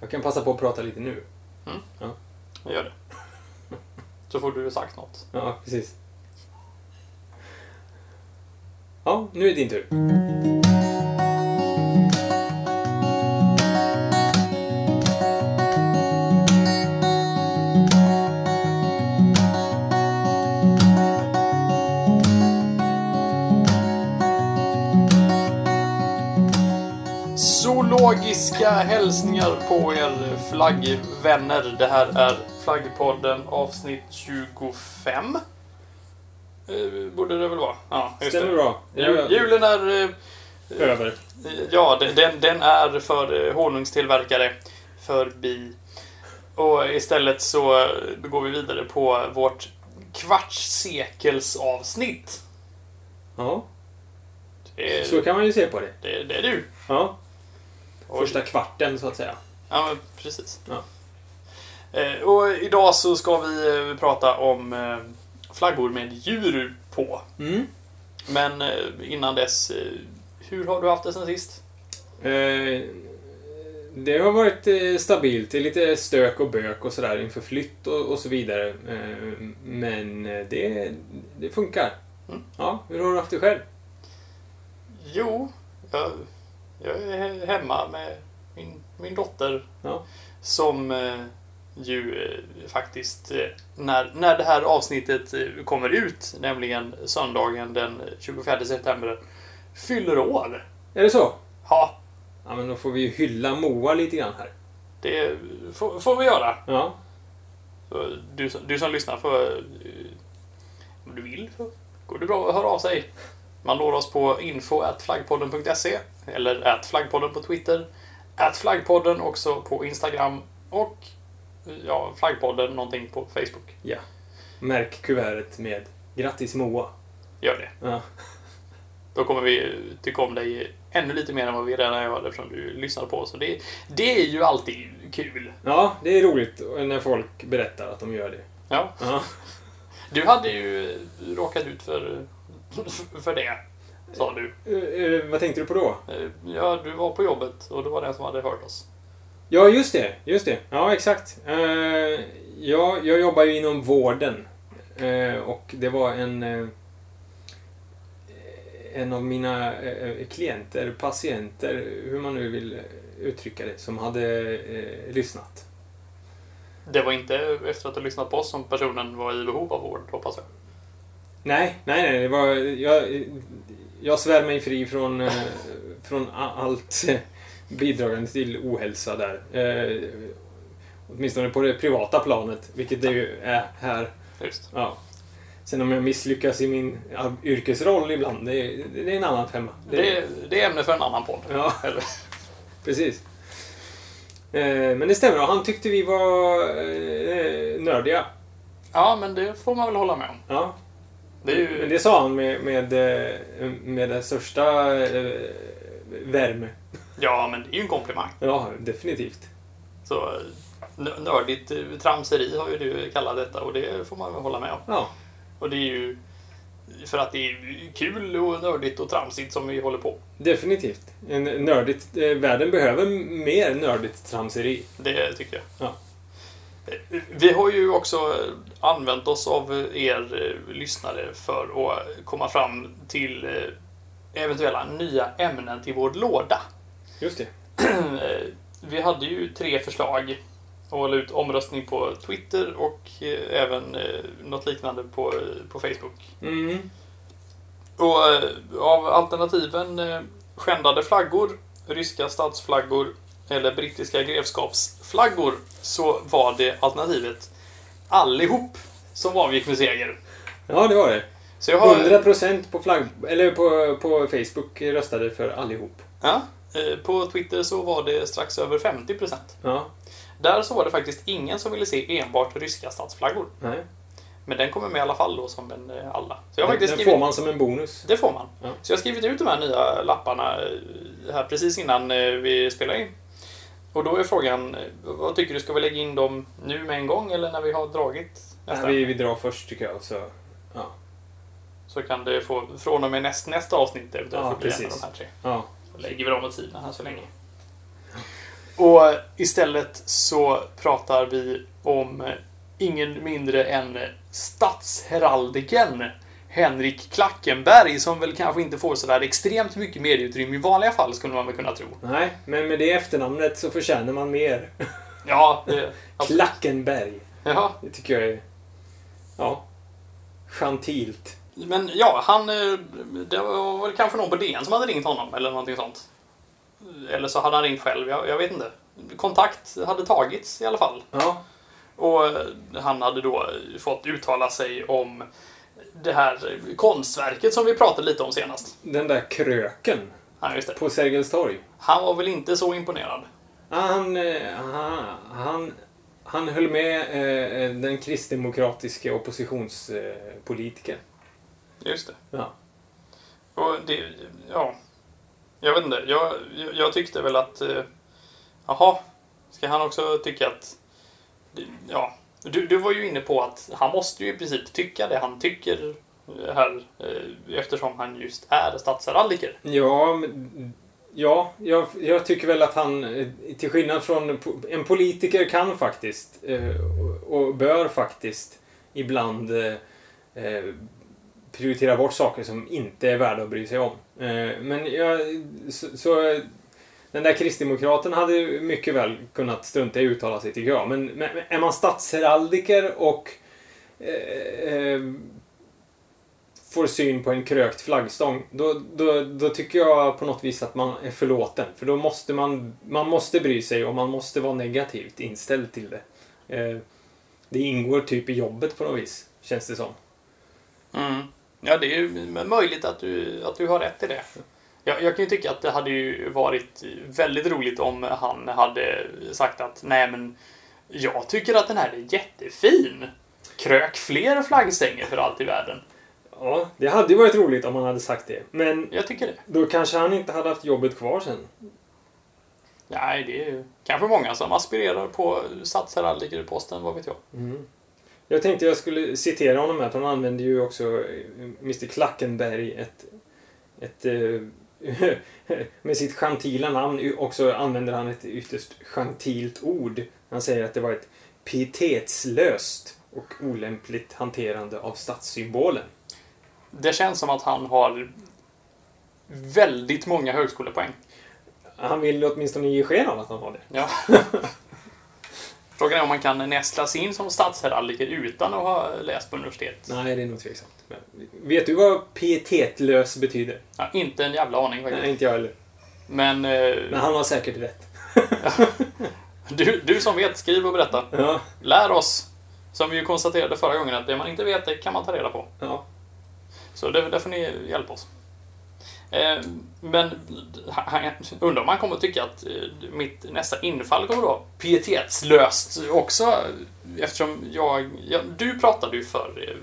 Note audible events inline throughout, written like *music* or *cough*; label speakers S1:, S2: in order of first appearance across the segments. S1: Jag kan passa på att prata lite nu.
S2: Jag gör det. Så får du sagt något.
S1: Ja, precis. Ja, nu är det din tur.
S2: Zoologiska hälsningar på er flaggvänner. Det här är Flaggpodden avsnitt 25. Eh, Borde det väl vara? Ja, just
S1: Stämmer
S2: det.
S1: bra.
S2: Ju- Julen är... eh,
S1: Över.
S2: Ja, de- den, den är för eh, honungstillverkare förbi. Och istället så eh, går vi vidare på vårt kvartssekelsavsnitt.
S1: Ja,
S2: Det är,
S1: så kan man ju se på det.
S2: det, det är du.
S1: Eh. Ja,
S2: Och-
S1: första kvarten så att säga.
S2: Ja, men precis.
S1: Ja.
S2: Eh, Och idag så ska vi eh, prata om eh, flaggor med djur på.
S1: Mm.
S2: Men eh, innan dess, eh, hur har du haft det sen sist?
S1: Eh, det har varit eh, stabilt. Det är lite stök och bök och sådär inför flytt och, och så vidare. Eh, men eh, det, det funkar.
S2: Mm.
S1: Ja, hur har du haft det själv?
S2: Jo, jag, jag är he- hemma med min, min dotter.
S1: Ja.
S2: Som eh, ju eh, faktiskt, eh, när, när det här avsnittet eh, kommer ut, nämligen söndagen den 24 september, fyller år.
S1: Är det så?
S2: Ja,
S1: Ja, men då får vi ju hylla Moa lite grann här.
S2: det får, får vi göra.
S1: Ja,
S2: Så Du, som- du som lyssnar får, eh, om du vill, så går det bra att höra av sig. Man når oss på info.flaggpodden.se eller at flaggpodden på Twitter. At flaggpodden också på Instagram och ja, flaggpodden någonting på Facebook.
S1: märk kuvertet med Grattis Moa.
S2: Gör det.
S1: Ja.
S2: Då kommer vi eh, tycka om dig ännu lite mer än vad vi redan gör eftersom du lyssnar på oss. Och Det, det är ju alltid kul.
S1: ja, det är roligt när folk berättar att de gör det.
S2: Ja.
S1: Ja.
S2: Du hade ju eh, råkat ut för, *laughs* för det, sa du.
S1: Eh, eh, vad tänkte du på då?
S2: Eh, Ja, du var på jobbet och det var den som hade hört oss.
S1: Ja, just det. Just det. Ja, exakt. Eh, ja, jag jobbar ju inom vården. Eh, och det var en... Eh, en av mina eh, klienter, patienter, hur man nu vill uttrycka det, som hade eh, lyssnat.
S2: Det var inte efter att du lyssnat på oss som personen var i behov av vård, hoppas jag.
S1: Nej, nej, nej. Det var, jag, jag svär mig fri från, eh, från a- allt eh, bidragande till ohälsa där. Eh, åtminstone på det privata planet, vilket det ju är här.
S2: Just.
S1: Ja. Sen om jag misslyckas i min ar- yrkesroll ibland, det är, det är en annan femma.
S2: Det, är- det är ämne för en annan podd.
S1: Ja,
S2: Eller?
S1: precis. Eh, Men det stämmer, och han tyckte vi var eh, nördiga.
S2: *laughs* Ja, men det får man väl hålla med om.
S1: Ja.
S2: Det är ju...
S1: Men det sa han med, med, eh, med den största eh, värme.
S2: Ja, men det är ju en komplimang.
S1: Ja, definitivt.
S2: Så eh, nö- nördigt eh, tramseri har ju du kallat detta och det får man väl hålla med om.
S1: Ja,
S2: Och det är ju för att det är kul och nördigt och tramsigt som vi håller på.
S1: definitivt. En nördigt, eh, världen behöver mer nördigt tramseri.
S2: Det tycker jag.
S1: Ja.
S2: Vi har ju också använt oss av er eh, lyssnare för att komma fram till eh, eventuella nya ämnen till vår låda. *clears throat*
S1: Just det.
S2: Eh, Vi hade ju tre förslag och hålla ut omröstning på Twitter och eh, även eh, något liknande på, eh, på Facebook.
S1: Mm.
S2: Och eh, av alternativen eh, skändade flaggor, ryska statsflaggor eller brittiska grevskapsflaggor så var det alternativet allihop som avgick med seger.
S1: Ja, det var det.
S2: Så jag har...
S1: 100% på, flagg, eller på, på Facebook röstade för allihop.
S2: Ja, eh, på Twitter så var det strax över 50%.
S1: Ja,
S2: Där så var det faktiskt ingen som ville se enbart ryska statsflaggor.
S1: nej.
S2: Men den kommer med i alla fall då som en eh, alla. Så jag har
S1: Den,
S2: faktiskt
S1: den
S2: skrivit...
S1: får man som en bonus.
S2: Det får man.
S1: Ja.
S2: Så jag har skrivit ut de här nya lapparna eh, här precis innan eh, vi spelar in. Och då är frågan, eh, vad tycker du? Ska vi lägga in dem nu med en gång eller när vi har dragit nästa?
S1: Nej, vi, vi drar först tycker jag. Så. Ja.
S2: Så kan det få, från och med näst, nästa avsnitt eventuellt,
S1: Ja,
S2: får bli en av
S1: precis.
S2: de här tre.
S1: Ja.
S2: Så lägger vi dem åt sidan här så länge. Och istället så pratar vi om eh, ingen mindre än statsheraldiken Henrik Klackenberg, som väl kanske inte får sådär extremt mycket medieutrymme i vanliga fall, skulle man väl kunna tro.
S1: Nej, men med det efternamnet så förtjänar man mer.
S2: Ja, det, absolut.
S1: Klackenberg.
S2: *laughs* ja.
S1: Det tycker jag är... Ja. Chantilt.
S2: Men ja, han... eh, Det var väl kanske någon på DN som hade ringt honom eller någonting sånt. Eller så hade han ringt själv, jag, jag vet inte. Kontakt hade tagits i alla fall.
S1: Ja.
S2: Och eh, han hade då fått uttala sig om det här konstverket som vi pratade lite om senast.
S1: Den där kröken
S2: Ja, just det.
S1: på Sergels torg.
S2: Han var väl inte så imponerad.
S1: Han, eh, han, han, han höll med eh, den kristdemokratiska oppositionspolitiken.
S2: Just det.
S1: Ja.
S2: Och det, ja. Jag vet inte. Jag, jag- jag tyckte väl att... eh, Jaha. Ska han också tycka att... Ja. Du, du var ju inne på att han måste ju i princip tycka det han tycker eh, här. eh, Eftersom han just är statsheraldiker.
S1: Ja, men- ja jag, jag tycker väl att han, eh, till skillnad från po- en politiker kan faktiskt eh, och- och bör faktiskt ibland eh, eh, prioritera bort saker som inte är värda att bry sig om. Eh, Men jag, så, så eh, den där kristdemokraten hade ju mycket väl kunnat strunta i att uttala sig tycker jag. Men, men är man statsheraldiker och eh, eh, får syn på en krökt flaggstång, då, då, då tycker jag på något vis att man är förlåten. För då måste man, man måste bry sig och man måste vara negativt inställd till det. Eh, det ingår typ i jobbet på något vis, känns det som.
S2: Mm. Ja, det är ju möjligt att du, att du har rätt i det. Jag, jag kan ju tycka att det hade ju varit väldigt roligt om han hade sagt att nej men jag tycker att den här är jättefin. Krök fler flaggstänger för allt i världen.
S1: Ja, det hade ju varit roligt om han hade sagt det. Men
S2: Jag tycker det.
S1: då kanske han inte hade haft jobbet kvar sen.
S2: Nej, det är ju kanske många som aspirerar på statsheraldikerposten, vad vet jag.
S1: Mm. Jag tänkte jag skulle citera honom här, för han använde ju också eh, Mr Klackenberg ett... ett eh, *laughs* med sitt gentila namn ju också använder han ett ytterst gentilt ord. Han säger att det var ett pietetslöst och olämpligt hanterande av statssymbolen.
S2: Det känns som att han har väldigt många högskolepoäng.
S1: Han vill åtminstone ge sken av att han har det.
S2: Ja. Frågan är om man kan nästlas in som statsheraldiker utan att ha läst på universitet.
S1: Nej, det är nog tveksamt. Men, vet du vad pietetlös betyder?
S2: Ja, inte en jävla aning faktiskt.
S1: Nej, inte jag heller.
S2: Men, eh,
S1: Men han har säkert rätt.
S2: du, du som vet, skriv och berätta.
S1: Ja,
S2: Lär oss! Som vi ju konstaterade förra gången, att det man inte vet, det kan man ta reda på.
S1: ja.
S2: Så det, där får ni hjälpa oss. Eh, men han, han- undrar om han kommer att tycka att eh, mitt nästa infall kommer att vara pietetslöst också. Eftersom jag, jag... Du pratade ju för eh,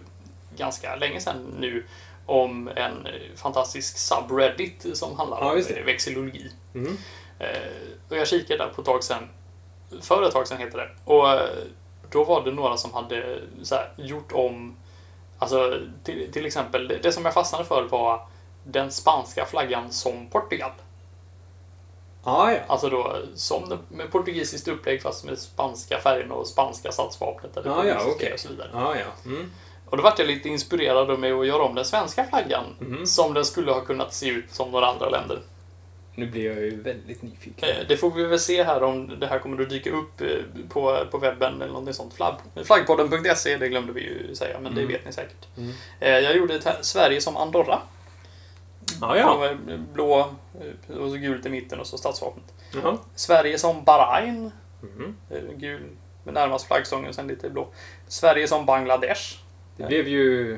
S2: ganska länge sedan nu om en eh, fantastisk subreddit som handlar
S1: Ja,
S2: om
S1: just det.
S2: eh, växelologi.
S1: Mm.
S2: Eh, och jag kikade där på ett tag sedan. För ett tag sedan heter det. Och eh, då var det några som hade så här, gjort om... Alltså till, till exempel, det- det som jag fastnade för var den spanska flaggan som Portugal.
S1: Ah, ja.
S2: Alltså då som den- med portugisiskt upplägg fast med spanska färgerna och spanska statsvapnet. eller
S1: Ah, ja,
S2: portugisiska
S1: okej.
S2: och så vidare.
S1: Ah, ja. Mm.
S2: Och då vart jag lite inspirerad av mig att göra om den svenska flaggan
S1: Mhm.
S2: som den skulle ha kunnat se ut som några andra länder.
S1: Nu blir jag ju väldigt nyfiken.
S2: Eh, Det får vi väl se här om det här kommer att dyka upp eh, på, på webben eller någonting sånt. Flabb- Flaggpodden.se, det glömde vi ju säga, men det
S1: Mm.
S2: vet ni säkert.
S1: Mm.
S2: Eh, Jag gjorde ett här- Sverige som Andorra.
S1: Ah,
S2: Det var Blå eh, och så gult i mitten och så statsvapnet.
S1: Jaha.
S2: Sverige som Bahrain.
S1: Mhm.
S2: eh, Gul med närmast flaggstången, sen lite blå. Sverige som Bangladesh.
S1: Det blev ju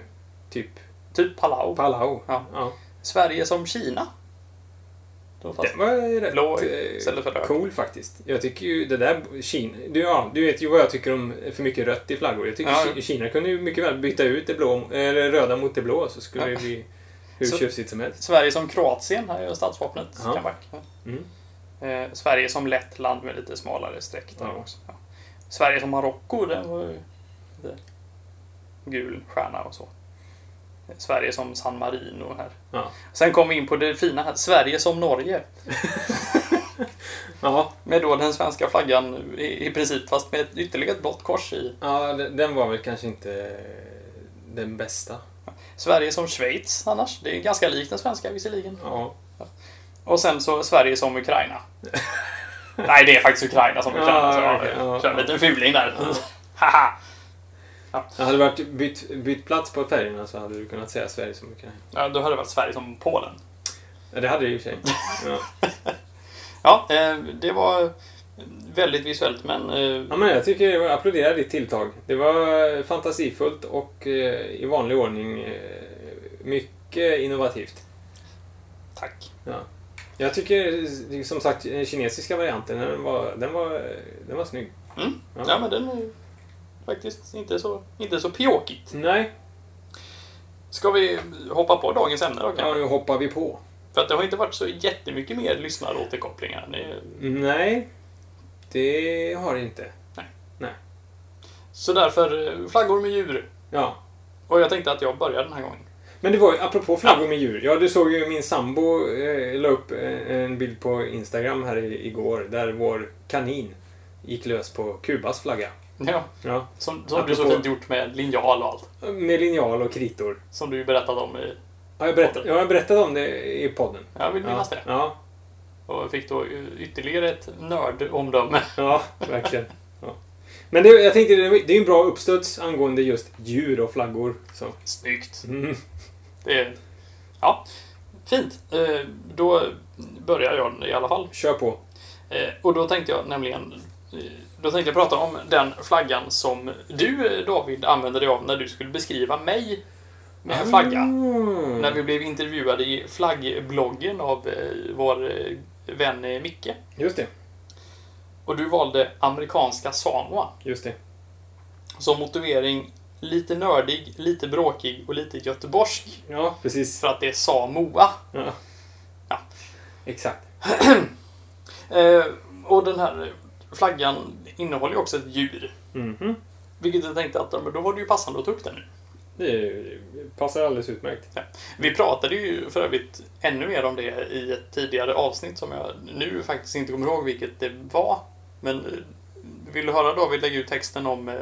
S1: typ
S2: Typ Palau.
S1: Palau.
S2: Ja.
S1: Ja.
S2: Sverige som Kina. Då fast-
S1: Den var ju rätt
S2: Blå
S1: eh,
S2: istället för röd.
S1: cool faktiskt. Jag tycker ju det där Kina... Du, ja, du vet ju vad jag tycker om för mycket rött i flaggor. Jag tycker
S2: Ja,
S1: Ki-
S2: ja.
S1: Kina kunde ju mycket väl byta ut det blå, eller röda mot det blå så skulle
S2: Ja.
S1: det bli hur
S2: Så-
S1: tjusigt som helst.
S2: Sverige som Kroatien, här är statsvapnet.
S1: Ja.
S2: Kavak.
S1: Mm.
S2: Eh, Sverige som Lettland med lite smalare streck. där
S1: Ja.
S2: också. Ja. Sverige som Marocko, den var ju lite gul stjärna och så. Eh, Sverige som San Marino här.
S1: Ja.
S2: Sen kom vi in på det fina här, Sverige som Norge.
S1: Ja,
S2: Med då den svenska flaggan i, i princip, fast med ett, ytterligare ett blått kors i.
S1: ja den den var väl kanske inte eh, den bästa.
S2: Sverige som Schweiz annars. Det är ganska likt den svenska visserligen.
S1: Ja,
S2: Och sen så Sverige
S1: *laughs*
S2: som Ukraina. Nej, det är faktiskt Ukraina som Ukraina.
S1: Ja,
S2: så jag
S1: okej, ja,
S2: kör en
S1: ja.
S2: liten fuling där. Haha!
S1: jag hade varit bytt, bytt plats på färgerna så hade du kunnat säga Sverige som Ukraina.
S2: ja, då hade det varit Sverige som Polen.
S1: Ja, det hade du i och för sig. Ja.
S2: Ja, eh, det var väldigt visuellt men...
S1: Ja,
S2: eh,
S1: men jag tycker jag applåderar ditt tilltag. Det var fantasifullt och eh, i vanlig ordning eh, mycket innovativt.
S2: Tack.
S1: Ja. Jag tycker eh, som sagt den kinesiska varianten, den var, den var, den var snygg.
S2: Mm.
S1: Ja.
S2: Ja, men den är faktiskt inte så, inte så pjåkigt.
S1: Nej,
S2: Ska vi hoppa på dagens ämne då kanske?
S1: ja, nu hoppar vi på.
S2: För att det har inte varit så jättemycket mer lyssnaråterkopplingar. Det-
S1: Nej, det har det inte.
S2: Så därför, eh, flaggor med djur.
S1: Ja.
S2: Och jag tänkte att jag börjar den här gången. *laughs*
S1: Men det var ju, apropå flaggor med djur. Ja, du såg ju min sambo eh, la upp eh, en bild på Instagram här i- igår där vår kanin gick lös på Kubas flagga.
S2: Ja,
S1: Ja.
S2: som, som du så
S1: Apropå-
S2: fint gjort med linjal och allt.
S1: Med linjal och kritor.
S2: Som du berättade om i...
S1: Har jag, berättat, jag har berättat om det i podden.
S2: Jag vill minnas
S1: ja.
S2: det.
S1: Ja,
S2: Och fick då eh, ytterligare ett nördomdöme. *laughs*
S1: ja verkligen. Ja. Men det, jag tänkte, det det är ju en bra uppstuds angående just djur och flaggor. Så.
S2: Snyggt.
S1: Mm.
S2: Det är... Ja, fint. Eh, Då börjar jag i alla fall.
S1: Kör på.
S2: Eh, Och då tänkte jag nämligen... eh, Då tänkte jag prata om den flaggan som du, eh, David, använde dig av när du skulle beskriva mig med en flagga.
S1: Mm.
S2: När vi blev intervjuade i flaggbloggen av eh, vår eh, vän eh, Micke.
S1: Just det,
S2: Och du valde amerikanska Samoa
S1: just det.
S2: som motivering lite nördig, lite bråkig och lite göteborgsk.
S1: Ja, precis.
S2: För att det är Samoa.
S1: Ja.
S2: Ja.
S1: Exakt.
S2: Eh, och den här flaggan innehåller ju också ett djur.
S1: Mhm.
S2: Vilket jag tänkte att ja, men då var det ju passande att ta upp den nu.
S1: Det passar alldeles utmärkt.
S2: Vi pratade ju för övrigt ännu mer om det i ett tidigare avsnitt som jag nu faktiskt inte kommer ihåg vilket det var. Men eh, vill du höra David lägga ut texten om eh,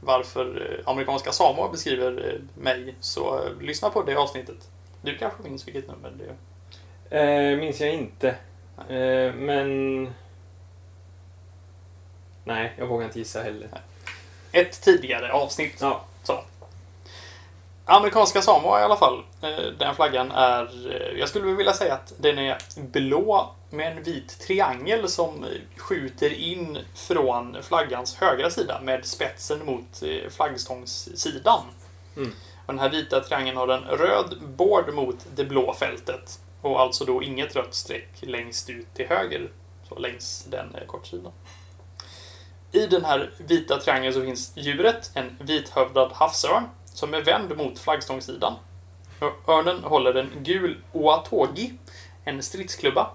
S2: varför eh, amerikanska samoa beskriver eh, mig så eh, lyssna på det avsnittet. Du kanske minns vilket nummer det är?
S1: Eh, minns jag inte. Eh, men... Nej, jag vågar inte gissa heller.
S2: Ett tidigare avsnitt.
S1: Ja.
S2: Så. Amerikanska Samoa i alla fall. Eh, Den flaggan är, eh, jag skulle vilja säga att den är blå med en vit triangel som eh, skjuter in från flaggans högra sida med spetsen mot eh, flaggstångssidan.
S1: Mm.
S2: Och den här vita triangeln har en röd bord mot det blå fältet och alltså då inget rött streck längst ut till höger, så längs den eh, kortsidan. I den här vita triangeln så finns djuret, en vithövdad havsörn, som är vänd mot flaggstångssidan. Ö- Örnen håller en gul oatogi, en stridsklubba,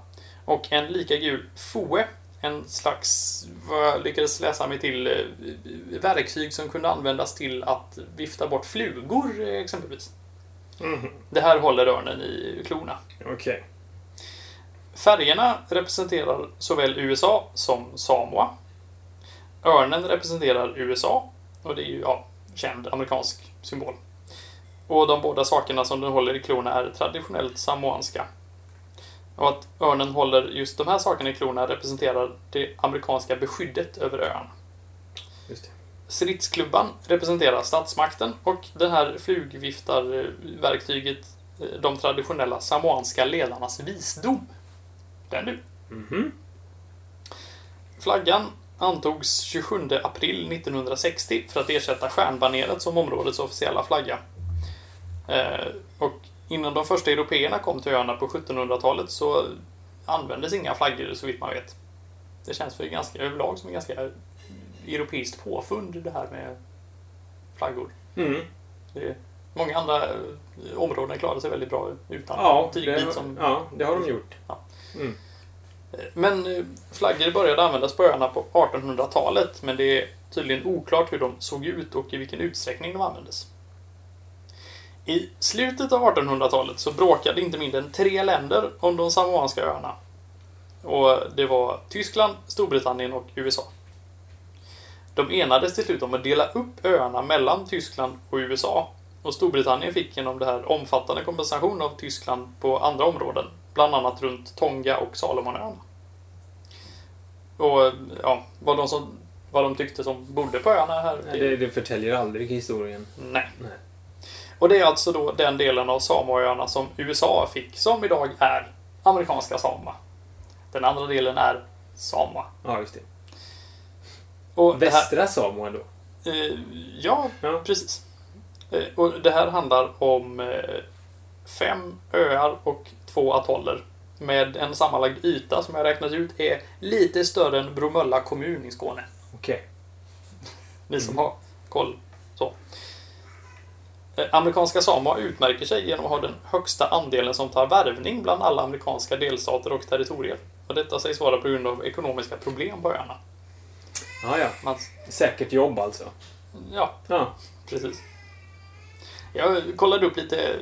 S2: och en lika gul foe, en slags, vad jag lyckades läsa mig till, eh, verktyg som kunde användas till att vifta bort flugor eh, exempelvis.
S1: Mhm.
S2: Det här håller örnen i klorna.
S1: Okej.
S2: Färgerna representerar såväl USA som Samoa. Örnen representerar USA och det är ju ja, känd amerikansk symbol. Och de båda sakerna som den håller i klorna är traditionellt samoanska. Och att örnen håller just de här sakerna i klorna representerar det amerikanska beskyddet över ön.
S1: Just det.
S2: Stridsklubban representerar statsmakten och det här flugviftarverktyget eh, de traditionella samoanska ledarnas visdom. Den du.
S1: Mhm.
S2: Flaggan antogs 27 april 1960 för att ersätta stjärnbaneret som områdets officiella flagga. Eh, och innan de första européerna kom till öarna på 1700-talet så användes inga flaggor så vitt man vet. Det känns för ganska överlag som en ganska europeiskt påfund det här med flaggor.
S1: Mm.
S2: Det är, många andra eh, områden klarar sig väldigt bra utan
S1: Ja, det,
S2: tygbit som
S1: ja, det har de gjort.
S2: Men eh, flaggor började användas på öarna på 1800-talet, men det är tydligen oklart hur de såg ut och i vilken utsträckning de användes. I slutet av 1800-talet så bråkade inte mindre än tre länder om de samoanska öarna. Och det var Tyskland, Storbritannien och USA. De enades till slut om att dela upp öarna mellan Tyskland och USA. Och Storbritannien fick genom det här omfattande kompensation av Tyskland på andra områden. Bland annat runt Tonga och Salomonöarna. Och ja, vad de, som, vad de tyckte som bodde på öarna här.
S1: Nej, Det, det förtäljer aldrig historien.
S2: Nej.
S1: Nej.
S2: Och det är alltså då den delen av Samoöarna som USA fick, som idag är amerikanska Samoa. Den andra delen är Samoa.
S1: Ja, just det.
S2: Och det här,
S1: Västra Samoa då?
S2: eh, ja,
S1: Ja.
S2: precis. Eh, och det här handlar om eh, fem öar och två atoller. Med en sammanlagd yta som jag räknat ut är lite större än Bromölla kommun i Skåne.
S1: Okej.
S2: Ni som har koll. Så. Eh, Amerikanska Samoa utmärker sig genom att ha den högsta andelen som tar värvning bland alla amerikanska delstater och territorier. Och detta sägs vara på grund av ekonomiska problem på öarna.
S1: Ja, ja.
S2: Man,
S1: Säkert jobb alltså.
S2: ja,
S1: Ja.
S2: precis. Jag kollade upp lite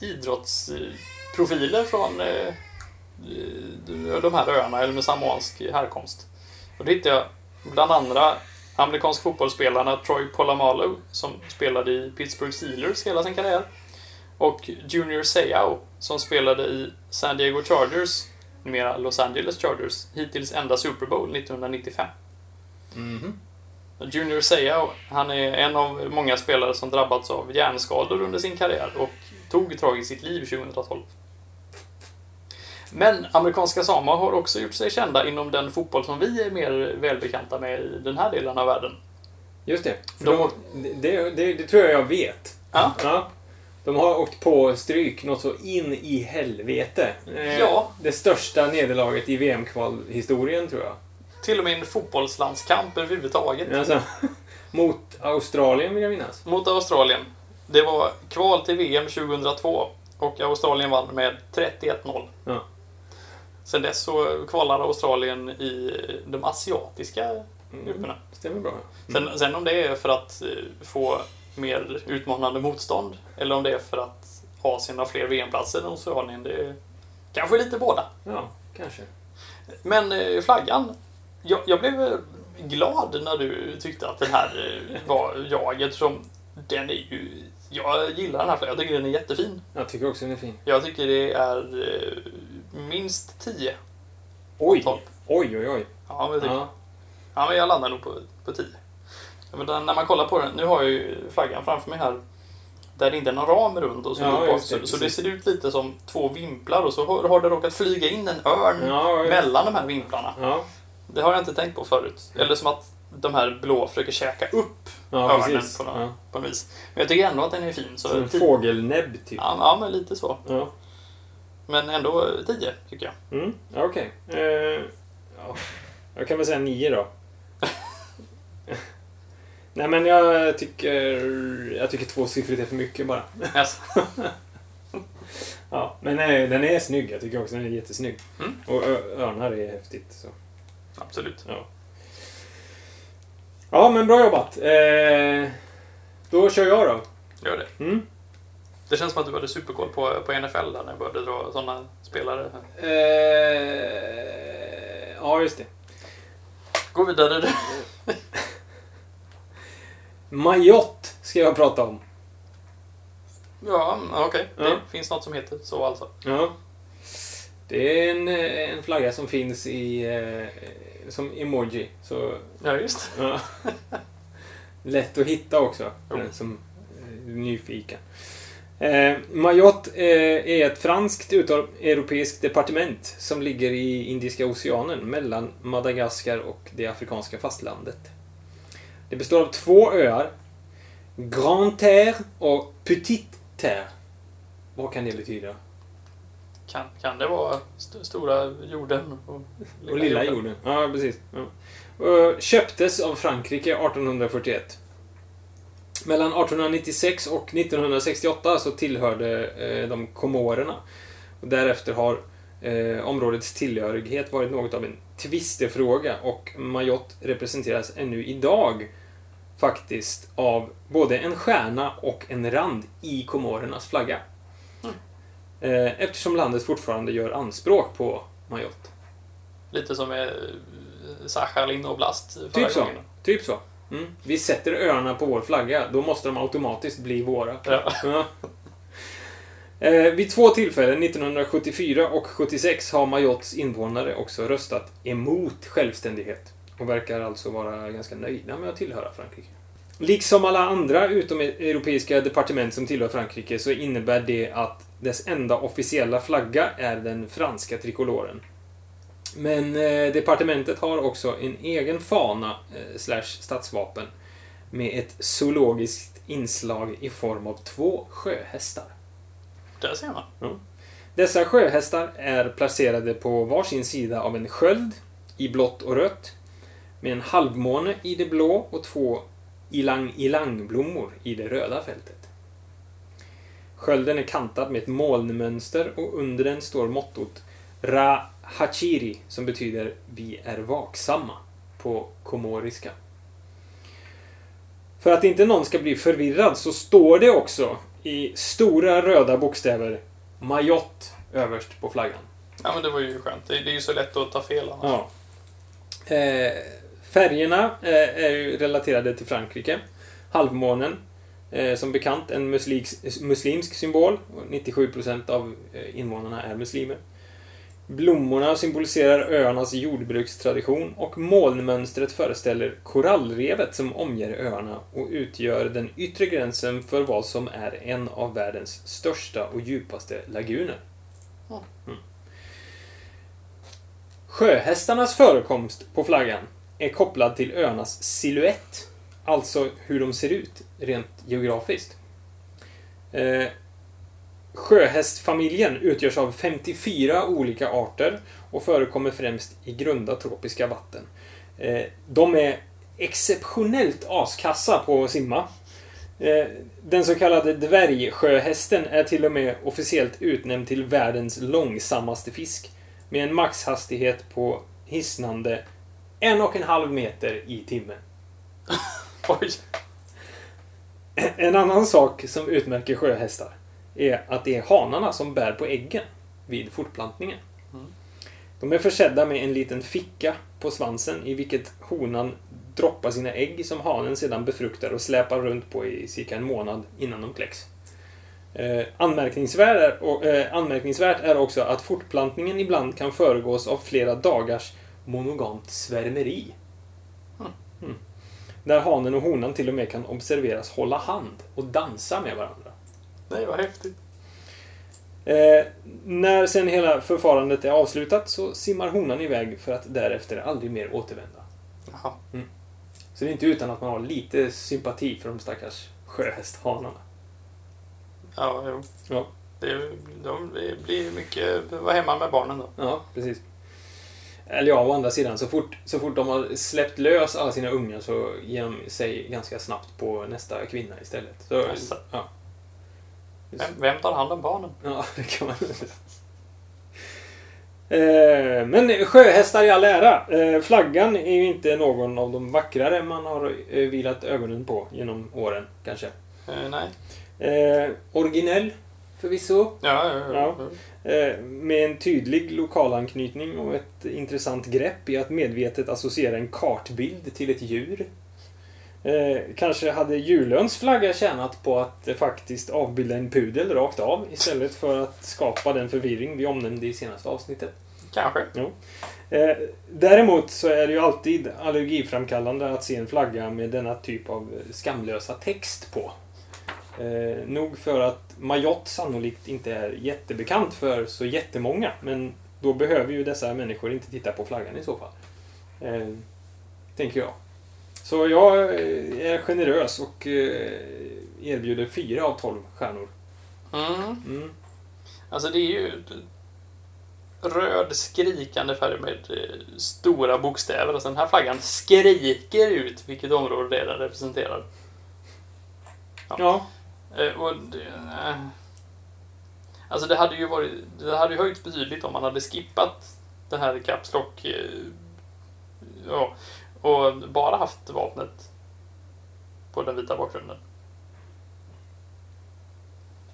S2: idrottsprofiler från eh, eh, de här öarna, eller med samoansk härkomst. Och då hittade jag bland andra amerikansk fotbollsspelarna Troy Polamalu, som spelade i Pittsburgh Steelers hela sin karriär, och Junior Seau, som spelade i San Diego Chargers, numera Los Angeles Chargers, hittills enda Super Bowl 1995.
S1: Mhm.
S2: Junior Seau, han är en av många spelare som drabbats av hjärnskador under sin karriär och tog tragiskt sitt liv 2012. Men amerikanska Samoa har också gjort sig kända inom den fotboll som vi är mer välbekanta med i den här delen av världen.
S1: Just det. För
S2: De-
S1: de... det, det. Det tror jag jag vet.
S2: Ja.
S1: Ja. De har åkt på stryk något så in i helvete. Eh,
S2: Ja.
S1: Det största nederlaget i VM-kvalhistorien, tror jag.
S2: Till och med en fotbollslandskamp överhuvudtaget.
S1: Alltså, *laughs* mot Australien, vill jag minnas.
S2: Mot Australien. Det var kval till VM 2002 och Australien vann med 31-0.
S1: Ja.
S2: Sen dess så kvalar Australien i de asiatiska grupperna.
S1: Mm. Stämmer bra. Mm.
S2: Sen, sen om det är för att eh, få mer utmanande motstånd eller om det är för att Asien har fler VM-platser än Australien, det är kanske lite båda.
S1: Ja, kanske.
S2: Men eh, flaggan. Jag, jag blev eh, glad när du tyckte att den här eh, var jag eftersom den är ju... Jag gillar den här flaggan. Jag tycker den är jättefin.
S1: Jag tycker också den är fin.
S2: Jag tycker det är eh, minst 10.
S1: Oj!
S2: Topp. Typ.
S1: Oj, oj, oj.
S2: Ja, men jag, tycker, ja.
S1: Ja.
S2: men jag landar nog på, på 10. Ja, men den, när man kollar på den, nu har jag ju flaggan framför mig här. Där det inte är någon ram runt och så,
S1: Ja,
S2: uppåt,
S1: just det,
S2: så, så det
S1: precis.
S2: ser ut lite som två vimplar och så har, har det råkat flyga in en örn
S1: Ja, ja.
S2: mellan de här vimplarna.
S1: ja.
S2: Det har jag inte tänkt på förut. Eller som att de här blå försöker käka upp
S1: ja
S2: örnen
S1: precis.
S2: på något,
S1: Ja.
S2: på något vis. Men jag tycker ändå att den är fin. Så
S1: Som en
S2: ti-
S1: fågelnäbb, typ.
S2: ja, ja, men lite så.
S1: Ja.
S2: Men ändå 10, tycker jag.
S1: Mm, ja, okej. Eh, ja. Jag kan väl säga nio
S2: *laughs*
S1: då. Nej men jag tycker... Jag tycker tvåsiffrigt är för mycket bara.
S2: Yes.
S1: Ja, men eh, den är snygg. Jag tycker också den är jättesnygg.
S2: Mm.
S1: Och ö- örnar är häftigt. Så.
S2: Absolut.
S1: Ja, men bra jobbat. Eh, då kör jag då.
S2: Gör det.
S1: Mm.
S2: Det känns som att du hade superkoll på, på NFL där när jag började dra sådana spelare.
S1: Eh, ja, just det.
S2: Gå vidare du.
S1: Mayotte ska jag prata om.
S2: Ja, mm, okej.
S1: Ja.
S2: Det finns något som heter så alltså.
S1: Ja. Det är en, eh, en flagga som finns i... Eh, som emoji. Så,
S2: Ja, just
S1: ja. Lätt att hitta också.
S2: Jo.
S1: eh, Som eh, nyfiken. Eh, Mayotte eh, är ett franskt utomeuropeiskt departement som ligger i Indiska oceanen mellan Madagaskar och det afrikanska fastlandet. Det består av två öar. Grand Terre och Petite Terre. Vad kan det betyda?
S2: Kan, kan det vara st- stora jorden och
S1: Och lilla jorden. Ja, precis. Ja. Och Köptes av Frankrike 1841. Mellan 1896 och 1968 så tillhörde eh, de Komorerna. Och därefter har eh, områdets tillhörighet varit något av en tvistefråga och Mayotte representeras ännu idag faktiskt av både en stjärna och en rand i Komorernas flagga. Eh, Eftersom landet fortfarande gör anspråk på Mayotte.
S2: Lite som med Sachalin och Blast förra
S1: Typ så.
S2: gången.
S1: Typ så. Mm. Vi sätter öarna på vår flagga, då måste de automatiskt bli våra.
S2: Ja.
S1: Ja. Eh, Vid två tillfällen, 1974 och 76, har Majotts invånare också röstat emot självständighet och verkar alltså vara ganska nöjda med att tillhöra Frankrike. Liksom alla andra utom europeiska departement som tillhör Frankrike så innebär det att dess enda officiella flagga är den franska trikoloren. Men eh, departementet har också en egen fana eh, slash statsvapen med ett zoologiskt inslag i form av två sjöhästar.
S2: Där ser man.
S1: Dessa sjöhästar är placerade på varsin sida av en sköld i blått och rött med en halvmåne i det blå och två ilang-ilang-blommor i det röda fältet. Skölden är kantad med ett molnmönster och under den står mottot Ra Hachiri som betyder Vi är vaksamma på komoriska. För att inte någon ska bli förvirrad så står det också i stora röda bokstäver Mayotte överst på flaggan.
S2: Ja, men det var ju skönt. Det, det är ju så lätt att ta fel annars.
S1: Ja. Eh, färgerna eh, är ju relaterade till Frankrike. Halvmånen, eh, som bekant en musliks, muslimsk symbol. och 97% av eh, invånarna är muslimer. Blommorna symboliserar öarnas jordbrukstradition och molnmönstret föreställer korallrevet som omger öarna och utgör den yttre gränsen för vad som är en av världens största och djupaste laguner.
S2: Ja.
S1: Mm. Sjöhästarnas förekomst på flaggan är kopplad till öarnas siluett, alltså hur de ser ut rent geografiskt. Eh, Sjöhästfamiljen utgörs av 54 olika arter och förekommer främst i grunda tropiska vatten. Eh, De är exceptionellt askassa på att simma. Eh, Den så kallade dvärgsjöhästen är till och med officiellt utnämnd till världens långsammaste fisk med en maxhastighet på hisnande en och en halv meter i timmen.
S2: *laughs* Oj!
S1: En annan sak som utmärker sjöhästar är att det är hanarna som bär på äggen vid fortplantningen.
S2: Mm.
S1: De är försedda med en liten ficka på svansen i vilket honan droppar sina ägg som hanen sedan befruktar och släpar runt på i cirka en månad innan de kläcks. Eh, anmärkningsvärt, är, och, eh, anmärkningsvärt är också att fortplantningen ibland kan föregås av flera dagars monogamt svärmeri.
S2: Mm.
S1: Mm. Där hanen och honan till och med kan observeras hålla hand och dansa med varandra.
S2: Nej, vad häftigt.
S1: Eh, när sen hela förfarandet är avslutat så simmar honan iväg för att därefter aldrig mer återvända.
S2: Jaha.
S1: Så det är inte utan att man har lite sympati för de stackars sjöhästhanarna.
S2: Ja, jo.
S1: Ja.
S2: Det, är- de det blir mycket... Vara hemma med barnen då.
S1: Ja, precis. Eller ja, å andra sidan, så fort, så fort de har släppt lös alla sina ungar så ger de sig ganska snabbt på nästa kvinna istället. Så,
S2: Jaså.
S1: ja.
S2: Vem, vem tar hand om barnen?
S1: Ja, det kan man säga. Eh, Men sjöhästar i all ära. Eh, Flaggan är ju inte någon av de vackrare man har eh, vilat ögonen på genom åren, kanske.
S2: Eh, nej.
S1: Eh, Originell, förvisso.
S2: Ja, ja, ja. ja.
S1: Eh, Med en tydlig lokalanknytning och ett intressant grepp i att medvetet associera en kartbild till ett djur. Eh, kanske hade Julöns flagga tjänat på att eh, faktiskt avbilda en pudel rakt av istället för att skapa den förvirring vi omnämnde i senaste avsnittet.
S2: Kanske.
S1: Eh, däremot så är det ju alltid allergiframkallande att se en flagga med denna typ av skamlösa text på. Eh, nog för att Mayotte sannolikt inte är jättebekant för så jättemånga, men då behöver ju dessa människor inte titta på flaggan i så fall. Eh, tänker jag. Så jag eh, är generös och eh, erbjuder fyra av tolv stjärnor.
S2: Mm.
S1: Mm.
S2: Alltså det är ju röd skrikande färg med eh, stora bokstäver. Alltså den här flaggan skriker ut vilket område det är den representerar.
S1: Ja,
S2: Eh, och det, eh. Alltså det hade ju varit, det hade ju höjts betydligt om man hade skippat det här Caps Lock eh, ja, och bara haft vapnet på den vita bakgrunden.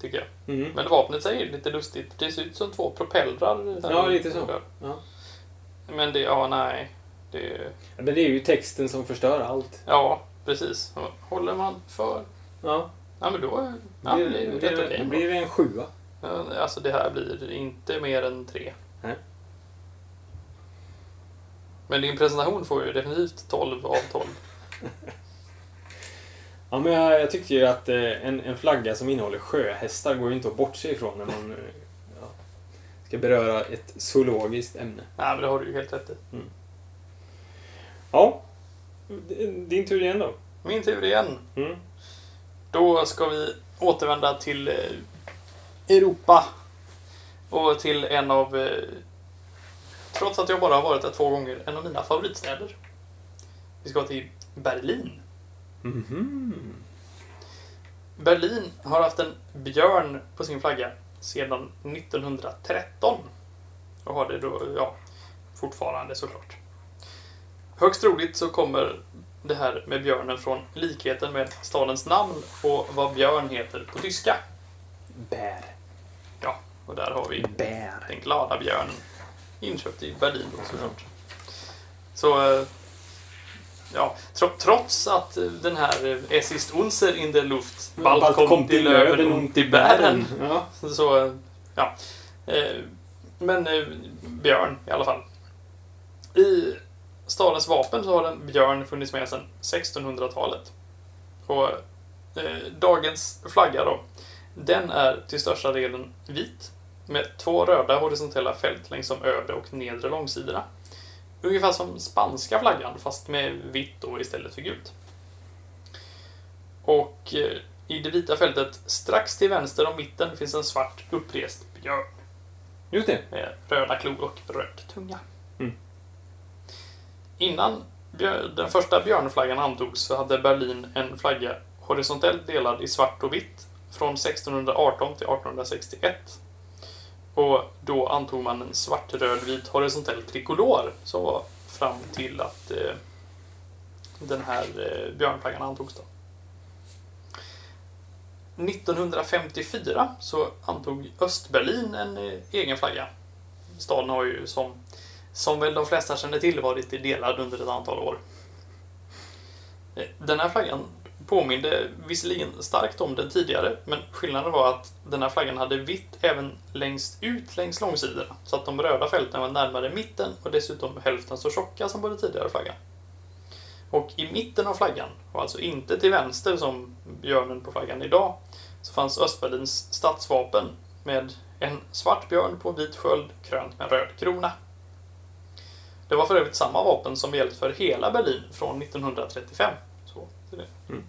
S2: Tycker jag.
S1: mm.
S2: Men vapnet säger lite lustigt. Det ser ut som två propellrar.
S1: Ja, lite så. Ja.
S2: Men det, ja nej. Det,
S1: Men det är ju texten som förstör allt.
S2: ja, precis. Håller man för...
S1: Ja,
S2: Ja men då ja,
S1: blir,
S2: det är ju
S1: blir,
S2: rätt okej.
S1: det blir det en sjua.
S2: Ja, Alltså det här blir inte mer än tre.
S1: Nej.
S2: Men din presentation får ju definitivt 12 av 12.
S1: Ja, men jag, jag tyckte ju att eh, en, en flagga som innehåller sjöhästar går ju inte att bortse ifrån när man eh, ja, ska beröra ett zoologiskt ämne.
S2: Nej men det har du ju helt rätt i.
S1: Ja, d- din tur igen då.
S2: Min tur igen.
S1: Mm.
S2: Då ska vi återvända till eh, Europa. Och till en av, eh, trots att jag bara har varit där två gånger, en av mina favoritstäder. Vi ska till Berlin. Mm-hmm.
S1: Mhm.
S2: Berlin har haft en björn på sin flagga sedan 1913. Och har det då, ja, fortfarande såklart. Högst troligt så kommer det här med björnen från likheten med stadens namn och vad björn heter på tyska.
S1: Bär.
S2: Ja, och där har vi
S1: Bär.
S2: den glada björnen. Inköpt i Berlin då såklart. Så, eh, ja, tro, trots att eh, den här eh, Es ist unser in der Luft, bald kommt die Löwen und die Bären.
S1: mm. Ja.
S2: Så, eh, ja. Eh, Men eh, björn i alla fall. I stadens vapen så har den björn funnits med sedan 1600-talet. Och eh, dagens flagga då, den är till största delen vit med två röda horisontella fält längs de övre och nedre långsidorna. Ungefär som spanska flaggan fast med vitt då istället för gult. Och eh, i det vita fältet strax till vänster om mitten finns en svart upprest björn
S1: Just det.
S2: med Eh, röda klor och röd tunga.
S1: Mm.
S2: Innan björ- den första björnflaggan antogs så hade Berlin en flagga horisontellt delad i svart och vitt från 1618 till 1861. Och då antog man en svart-röd-vit horisontell trikolor som var fram till att eh, den här eh, björnflaggan antogs. Då. 1954 så antog Östberlin en eh, egen flagga. Staden har ju som, som väl de flesta känner till varit delad under ett antal år. Eh, Den här flaggan påminde visserligen starkt om den tidigare, men skillnaden var att den här flaggan hade vitt även längst ut längs långsidorna, så att de röda fälten var närmare mitten och dessutom hälften så tjocka som på den tidigare flaggan. Och i mitten av flaggan, och alltså inte till vänster som björnen på flaggan idag, så fanns Östberlins stadsvapen med en svart björn på vit sköld krönt med en röd krona. Det var för övrigt samma vapen som gällt för hela Berlin från 1935. Så, så det.
S1: Mm.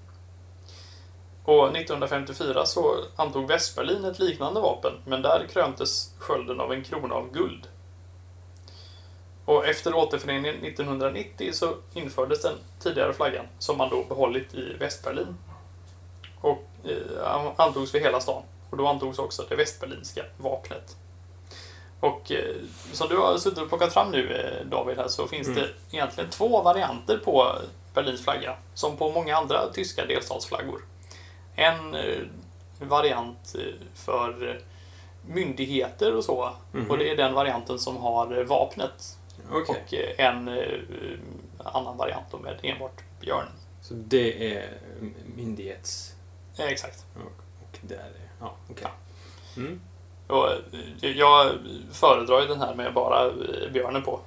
S2: Och 1954 så antog Västberlin ett liknande vapen, men där kröntes skölden av en krona av guld. Och efter återföreningen 1990 så infördes den tidigare flaggan, som man då behållit i Västberlin. Och eh, antogs för hela stan. Och då antogs också det västberlinska vapnet. Och eh, som du har suttit och plockat fram nu eh, David här så finns
S1: Mm.
S2: det egentligen två varianter på Berlins flagga. Som på många andra tyska delstatsflaggor. En eh, variant eh, för eh, myndigheter och så.
S1: Mhm.
S2: Och det är den varianten som har eh, vapnet.
S1: Okej.
S2: Och eh, en eh, annan variant då med enbart björnen.
S1: Så det är mm, myndighets...
S2: Eh, Exakt.
S1: Och där är... Ja, okej. Mm.
S2: Och eh, jag föredrar ju den här med bara eh, björnen på.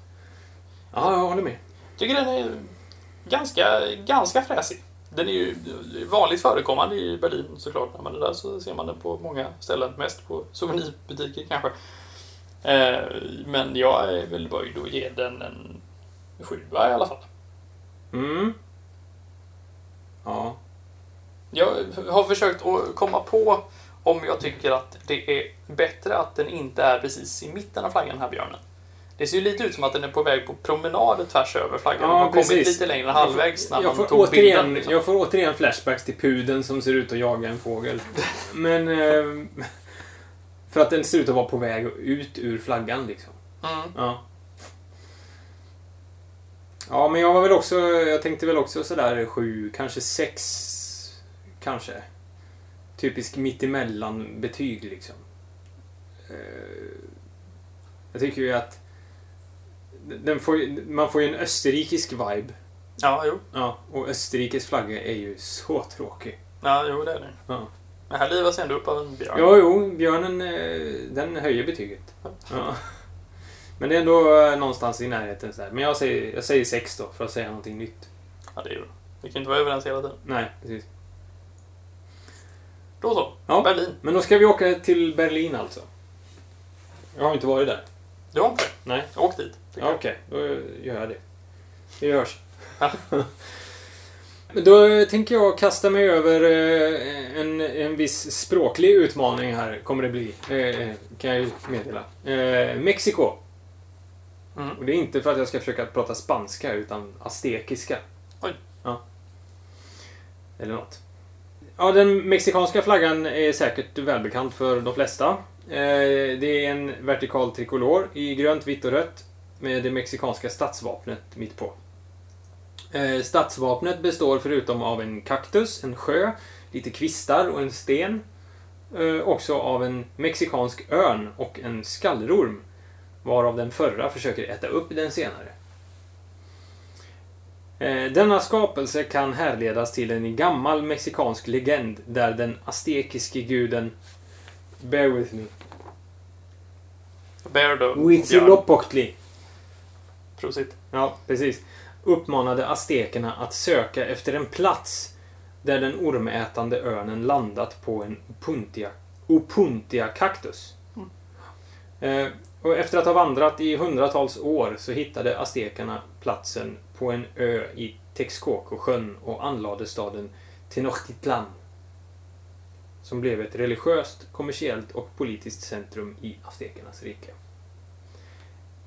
S1: Ja, jag håller med.
S2: Tycker den är ganska, ganska fräsig. Den är ju vanligt förekommande i Berlin såklart, men det där så ser man den på många ställen, mest på souvenirbutiker kanske. Eh, Men jag är väl böjd att ge den en sjua i alla fall.
S1: Mm. Ja.
S2: Jag har försökt att komma på om jag tycker att det är bättre att den inte är precis i mitten av flaggan, den här björnen. Det ser ju lite ut som att den är på väg på promenad tvärs över flaggan.
S1: Ja,
S2: den har kommit
S1: precis.
S2: lite längre än halvvägs när
S1: jag
S2: man
S1: får,
S2: tog
S1: återigen,
S2: bilden. Liksom.
S1: jag får återigen flashbacks till pudeln som ser ut att jaga en
S2: *laughs*
S1: fågel. Men... Eh, *laughs* för att den ser ut att vara på väg ut ur flaggan liksom.
S2: Mm.
S1: Ja. Ja, men jag var väl också... Jag tänkte väl också sådär sju, kanske sex, kanske. Typisk mittemellan-betyg liksom. Eh, Jag tycker ju att den får, ju- man får ju en österrikisk vibe.
S2: Ja, jo.
S1: Ja, och Österrikes flagga är ju så tråkig.
S2: Ja, jo, det är det.
S1: Ja.
S2: Men här livas ändå upp av en björn.
S1: Ja, jo, björnen eh, den höjer betyget. Ja. Men det är ändå eh, någonstans i närheten. Så här. Men jag säger, jag säger sex då, för att säga någonting nytt.
S2: Ja, det är ju bra. Vi kan ju inte vara överens hela tiden.
S1: Nej, precis.
S2: Då så.
S1: Ja.
S2: Berlin.
S1: Men då ska vi åka till Berlin alltså. Jag har inte varit där.
S2: Du har inte?
S1: Nej.
S2: Åk dit.
S1: Ja,
S2: tycker jag.
S1: Okej, då gör jag det. Vi hörs.
S2: Ja.
S1: *laughs* Men Då tänker jag kasta mig över eh, en, en viss språklig utmaning här, kommer det bli. eh, Kan jag ju meddela. Eh, Mexiko.
S2: Mm.
S1: Och det är inte för att jag ska försöka prata spanska, utan aztekiska.
S2: Oj.
S1: Ja. Eller något. Ja, den mexikanska flaggan är säkert välbekant för de flesta. Eh, Det är en vertikal trikolor i grönt, vitt och rött med det mexikanska statsvapnet mitt på. Eh, Statsvapnet består förutom av en kaktus, en sjö, lite kvistar och en sten eh, också av en mexikansk örn och en skallorm varav den förra försöker äta upp den senare. Eh, Denna skapelse kan härledas till en gammal mexikansk legend där den aztekiske guden Bear with me.
S2: Bear då. Björn.
S1: Huitzilopochtli.
S2: Prosit.
S1: Ja, precis. Uppmanade aztekerna att söka efter en plats där den ormätande örnen landat på en opuntia, opuntia kaktus. Eh, och efter att ha vandrat i hundratals år så hittade aztekerna platsen på en ö i Texcoco-sjön och anlade staden Tenochtitlan. Som blev ett religiöst, kommersiellt och politiskt centrum i aztekernas rike.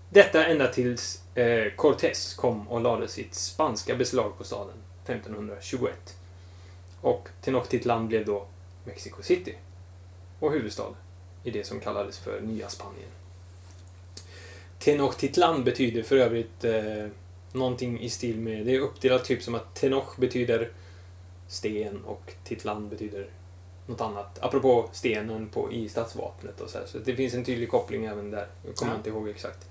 S1: Detta ända tills eh, Cortés kom och lade sitt spanska beslag på staden 1521. Och Tenochtitlan blev då Mexico City och huvudstad i det som kallades för Nya Spanien. Tenochtitlan betyder för övrigt eh, någonting i stil med, det är uppdelat typ som att Tenoch betyder sten och Titlan betyder något annat. Apropå stenen på, i stadsvapnet och så, här, så det finns en tydlig koppling även där. Jag kommer
S2: Ja.
S1: inte ihåg exakt.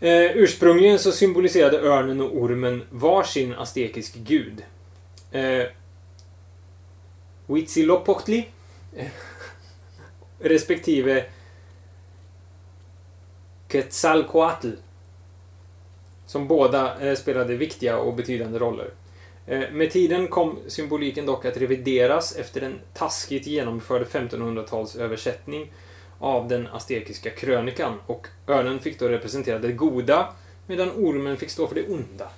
S1: Eh, ursprungligen så symboliserade örnen och ormen varsin aztekisk gud. Eh, Huitzilopochtli eh, respektive Quetzalcoatl som båda eh, spelade viktiga och betydande roller. Eh, Med tiden kom symboliken dock att revideras efter en taskigt genomförd 1500-talsöversättning av den aztekiska krönikan och örnen fick då representera det goda medan ormen fick stå för det onda.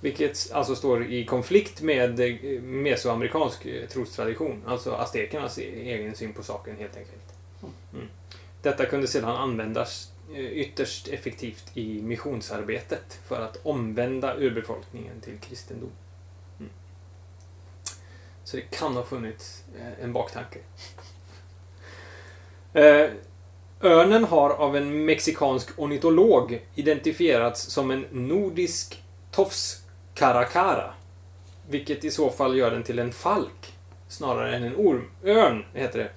S1: Vilket alltså står i konflikt med eh, mesoamerikansk eh, trostradition, alltså aztekernas e- egen syn på saken helt enkelt. Mm. Detta kunde sedan användas eh, ytterst effektivt i missionsarbetet för att omvända urbefolkningen till kristendom. Mm. Så det kan ha funnits eh, en baktanke. *laughs* Eh, Örnen har av en mexikansk ornitolog identifierats som en nordisk tofskaracara. Vilket i så fall gör den till en falk snarare än en orm. Örn heter det.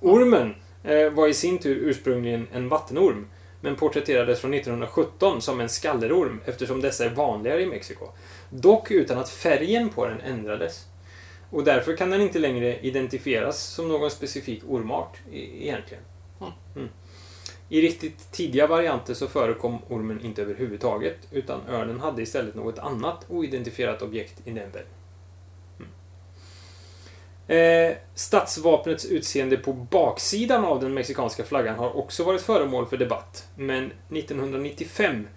S1: Ormen eh, var i sin tur ursprungligen en vattenorm men porträtterades från 1917 som en skallerorm eftersom dessa är vanligare i Mexiko. Dock utan att färgen på den ändrades. Och därför kan den inte längre identifieras som någon specifik ormart e- egentligen.
S2: Mm.
S1: Mm. I riktigt tidiga varianter så förekom ormen inte överhuvudtaget utan örnen hade istället något annat oidentifierat objekt i nämnden. Eh, statsvapnets utseende på baksidan av den mexikanska flaggan har också varit föremål för debatt. Men 1995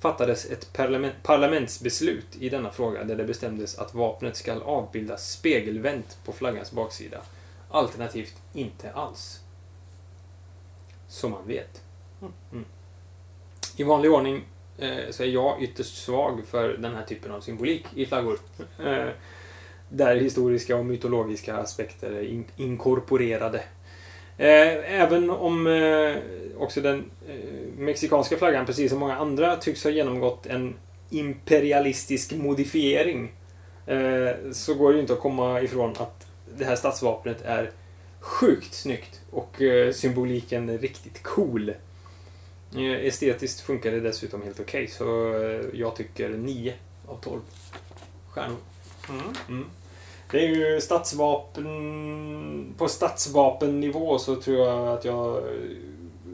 S1: fattades ett parlament, parlamentsbeslut i denna fråga där det bestämdes att vapnet ska avbildas spegelvänt på flaggans baksida. Alternativt inte alls. Så man vet.
S2: Mm.
S1: Mm. I vanlig ordning eh, så är jag ytterst svag för den här typen av symbolik i flaggor. Eh, där historiska och mytologiska aspekter är in- inkorporerade. Eh, även om eh, också den eh, mexikanska flaggan, precis som många andra, tycks ha genomgått en imperialistisk modifiering eh, så går det ju inte att komma ifrån att det här statsvapnet är sjukt snyggt och eh, symboliken är riktigt cool. Eh, Estetiskt funkar det dessutom helt okej, så eh, jag tycker 9 av 12 stjärnor.
S2: Mm.
S1: Mm. Det är ju stadsvapen... På stadsvapennivå så tror jag att jag...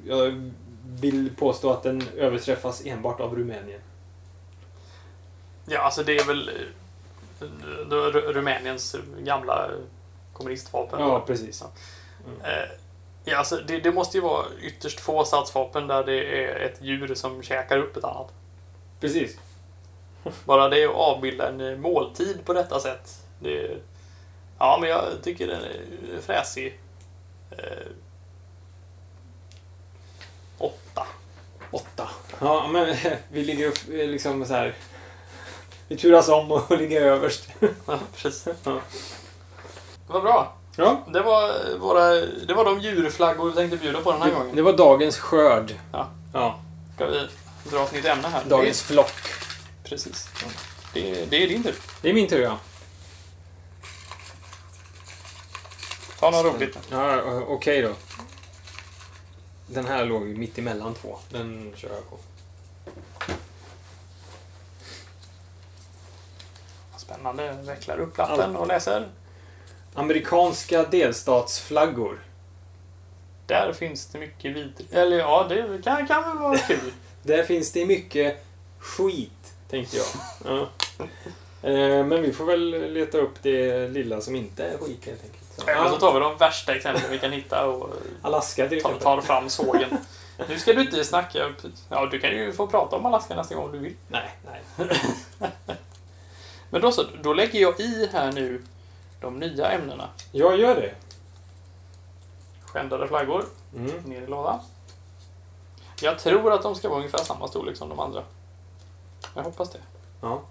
S1: Jag vill påstå att den överträffas enbart av Rumänien.
S2: Ja, alltså det är väl eh, Ru- Ru- Rumäniens gamla kommunistvapen.
S1: Ja, precis.
S2: Eh, Ja, alltså det, det måste ju vara ytterst få stadsvapen där det är ett djur som käkar upp ett annat.
S1: Precis.
S2: Bara det att avbilda en eh, måltid på detta sätt. Det, ja, men jag tycker den är fräsig. Eh, åtta. *laughs*
S1: Åtta. Ja, men *laughs* vi ligger upp, eh, liksom så här... Vi turas om och *laughs* ligger överst.
S2: Ja, precis.
S1: Ja.
S2: Vad bra.
S1: Ja.
S2: Det var, våra, det var de djurflaggor vi tänkte bjuda på den här
S1: Det,
S2: gången.
S1: var dagens skörd.
S2: Ja.
S1: ja.
S2: Ska vi dra ett nytt ämne här?
S1: Dagens flock.
S2: Det- Precis. Det, det är din tur.
S1: Det är min tur, ja.
S2: Ta något roligt.
S1: Ja, o- okej då. Den här låg ju mitt emellan två. Den kör jag på.
S2: Spännande. Vecklar upp lappen och läser.
S1: Amerikanska delstatsflaggor.
S2: Där finns det mycket vidrigt. Eller ja, det kan, kan väl vara kul.
S1: Där finns det mycket skit, tänkte jag. Ja. Eh, Men vi får väl leta upp det lilla som inte är skit, helt enkelt. Så,
S2: Eller
S1: *laughs*
S2: så
S1: ja.
S2: tar vi de värsta exemplen vi kan hitta och
S1: Alaska till
S2: tar,
S1: exempel.
S2: tar fram sågen. Nu ska du inte snacka. Ja, du kan ju få prata om Alaska nästa gång om du vill.
S1: Nej, nej.
S2: Men då så, då lägger jag i här nu de nya ämnena.
S1: Jag gör det.
S2: Skändade flaggor,
S1: Mm.
S2: ner i låda. Jag tror att de ska vara ungefär samma storlek som de andra. Jag hoppas det.
S1: Ja.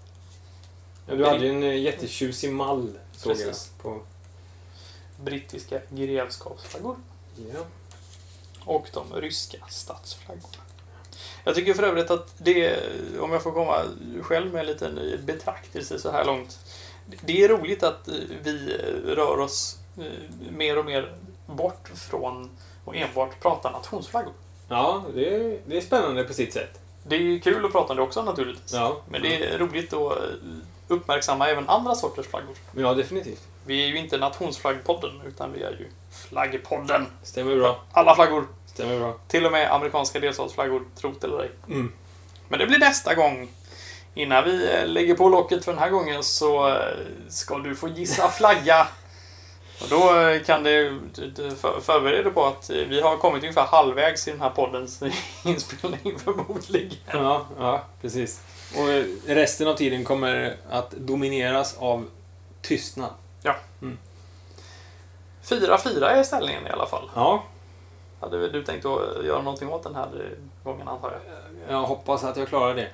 S1: Ja, Du hade ju en eh, jättetjusig mall, såg
S2: Precis.
S1: jag. På...
S2: Brittiska grevskapsflaggor.
S1: Ja.
S2: och de ryska statsflaggorna. Jag tycker för övrigt att det, om jag får komma själv med en liten betraktelse så här långt. Det är roligt att eh, vi rör oss eh, mer och mer bort från och enbart prata nationsflaggor.
S1: Ja, det är, det är spännande på sitt sätt.
S2: Det är ju kul att prata om det också naturligtvis.
S1: Ja,
S2: Men det är roligt att eh, uppmärksamma även andra sorters flaggor.
S1: ja definitivt.
S2: Vi är ju inte nationsflaggpodden, utan vi är ju flaggpodden.
S1: Stämmer bra.
S2: Alla flaggor,
S1: Stämmer bra.
S2: till och med amerikanska delstatsflaggor, trot eller ej.
S1: Mm.
S2: Men det blir nästa gång. Innan vi eh, lägger på locket för den här gången så eh, ska du få gissa flagga. Och då eh, kan du du- du för- förbereda dig på att eh, vi har kommit ungefär halvvägs i den här poddens *laughs* inspelning förmodligen.
S1: Ja, ja, precis. Och eh, resten av tiden kommer att domineras av tystnad.
S2: 4-4 är ställningen i alla fall.
S1: Ja,
S2: Hade väl du tänkt att eh, göra någonting åt den här eh, gången antar jag?
S1: jag hoppas att jag klarar det.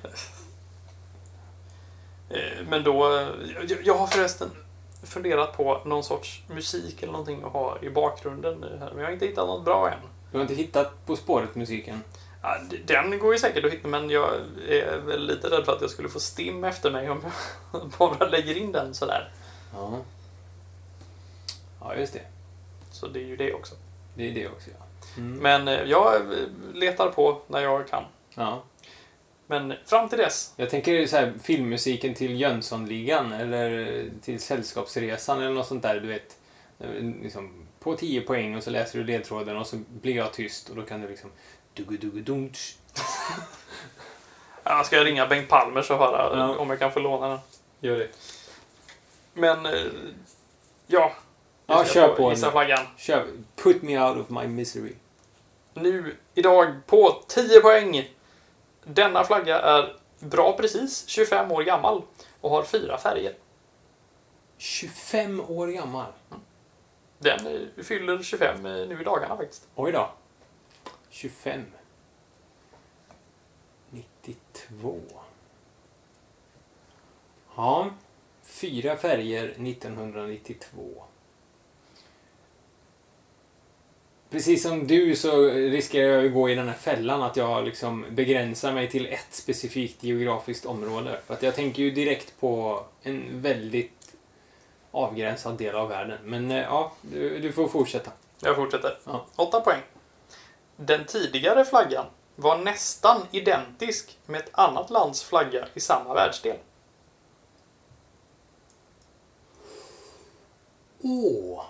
S2: Eh, Men då, eh, jag- jag har förresten funderat på någon sorts musik eller någonting att ha i bakgrunden här, men jag har inte hittat något bra än.
S1: Du har inte hittat På spåret-musiken?
S2: Ja, d- den går ju säkert att hitta, men jag är väl lite rädd för att jag skulle få stim efter mig om jag *laughs* bara lägger in den sådär.
S1: Ja. Ja, just det.
S2: Så det är ju det också.
S1: Det är det också, ja. Mm.
S2: Men eh, jag eh, letar på när jag kan.
S1: ja.
S2: Men fram till dess,
S1: Jag tänker så här, filmmusiken till Jönssonligan eller till Sällskapsresan eller något sånt där, du vet. Eh, Liksom, på 10 poäng och så läser du ledtråden och så blir jag tyst och då kan du liksom... dugu-dugu-dunch.
S2: ja, ska jag ringa Bengt Palmer så höra
S1: Ja.
S2: om jag kan få låna den.
S1: Gör det.
S2: Men, eh, ja.
S1: Ja,
S2: Jag ska
S1: kör
S2: få
S1: på
S2: Gissa
S1: nu.
S2: flaggan.
S1: Kör. Put me out of my misery.
S2: Nu, idag, på 10 poäng. Denna flagga är bra precis 25 år gammal och har fyra färger.
S1: 25 år gammal.
S2: Den eh, fyller 25 eh, nu i dagarna faktiskt.
S1: Oj då. 25. 92. Ja. Fyra färger 1992. Precis som du så riskerar jag ju gå i den här fällan att jag liksom begränsar mig till ett specifikt geografiskt område. För att jag tänker ju direkt på en väldigt avgränsad del av världen. Men eh, ja, du, du får fortsätta.
S2: Jag fortsätter.
S1: Ja.
S2: 8 poäng. Den tidigare flaggan var nästan identisk med ett annat lands flagga i samma världsdel.
S3: Åh!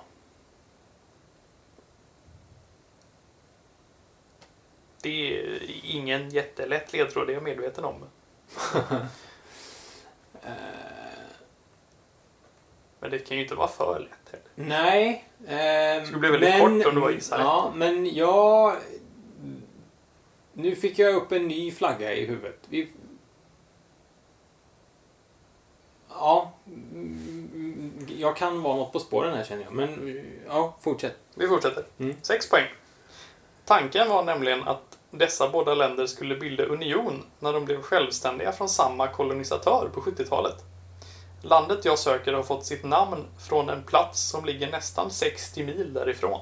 S2: Det är ingen jättelätt ledtråd, det är jag medveten om. Eh, Men det kan ju inte vara för lätt heller.
S1: Nej. ehm,
S2: Det skulle bli väldigt kort om du var gissare.
S1: Ja, men jag... Nu fick jag upp en ny flagga i huvudet. Vi... Ja. mm, Jag kan vara något på spåren här känner jag, men ja, fortsätt.
S2: Vi fortsätter.
S1: Mm.
S2: Sex poäng. Tanken var nämligen att dessa båda länder skulle bilda union när de blev självständiga från samma kolonisatör på 70-talet. Landet jag söker har fått sitt namn från en plats som ligger nästan 60 mil därifrån.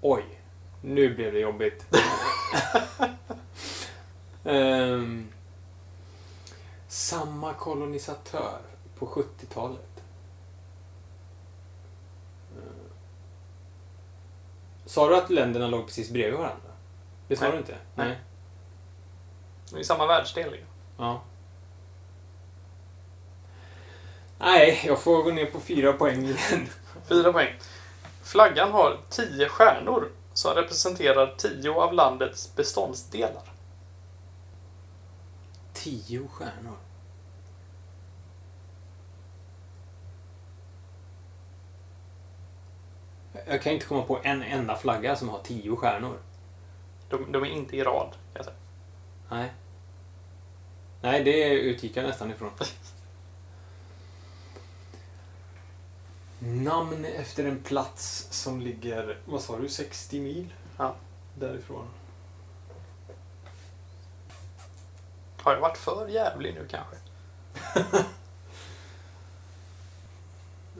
S1: Oj, nu blev det
S2: *laughs*
S1: jobbigt. Ehm, samma kolonisatör på 70-talet. Ehm, Sa du att länderna låg precis bredvid varandra? Det sa
S2: Nej.
S1: du inte?
S2: Nej. I samma världsdel. ju.
S1: Ja. Nej, jag får gå ner på fyra poäng igen.
S2: Fyra poäng. Flaggan har 10 stjärnor som representerar 10 av landets beståndsdelar.
S1: Tio stjärnor. Jag kan inte komma på en enda flagga som har tio stjärnor.
S2: De, de är inte i rad. Alltså, kan jag säga.
S1: Nej. Nej, det utgick jag nästan ifrån. Namn efter en plats som ligger, vad sa du, 60 mil?
S2: Ja.
S1: Därifrån.
S2: Har jag varit för jävlig nu kanske?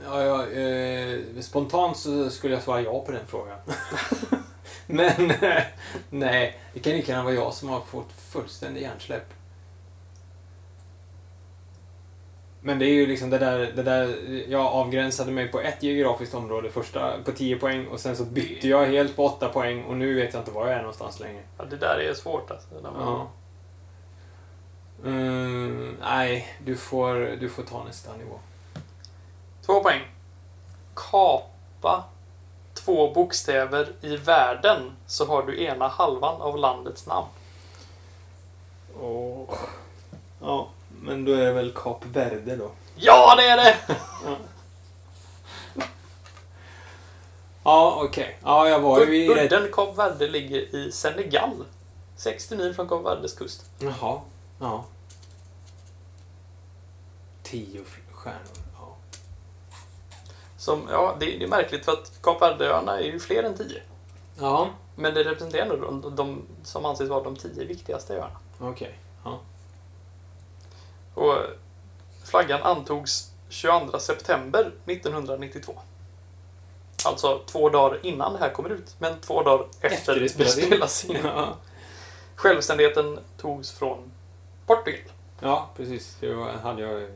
S1: Ja, ja, eh, spontant så skulle jag svara ja på den frågan. *laughs* Men eh, nej, det kan lika gärna vara jag som har fått fullständig hjärnsläpp. Men det är ju liksom det där, det där, jag avgränsade mig på ett geografiskt område första, på 10 poäng och sen så bytte jag helt på 8 poäng och nu vet jag inte var jag är någonstans längre.
S2: Ja, det där är svårt alltså. När man,
S1: Ja. Mm, nej, du får, du får ta nästa nivå.
S2: Två poäng. Kapa två bokstäver i världen så har du ena halvan av landets namn.
S1: Åh. Ja, men då är det väl Kap Verde då.
S2: Ja, det är det!
S1: Ja, okej. Ja, jag var ju i rätt...
S2: Udden Kap Verde ligger i Senegal. 60 mil från Kap Verdes kust.
S1: Jaha. Ja. Tio f- stjärnor. Ja.
S2: Som, ja, det, det är märkligt för att Kap Verdeöarna är ju fler än 10.
S1: Ja,
S2: Men det representerar ändå de, de som anses vara de 10 viktigaste öarna.
S1: okej. *laughs* Ja.
S2: Och flaggan antogs 22 september 1992. Alltså två dagar innan det här kommer ut, men två dagar efter,
S1: Efter det
S2: det
S1: spelas in.
S2: spelas in.
S1: Ja.
S2: Självständigheten togs från Portugal.
S1: ja, precis. Det var, hade jag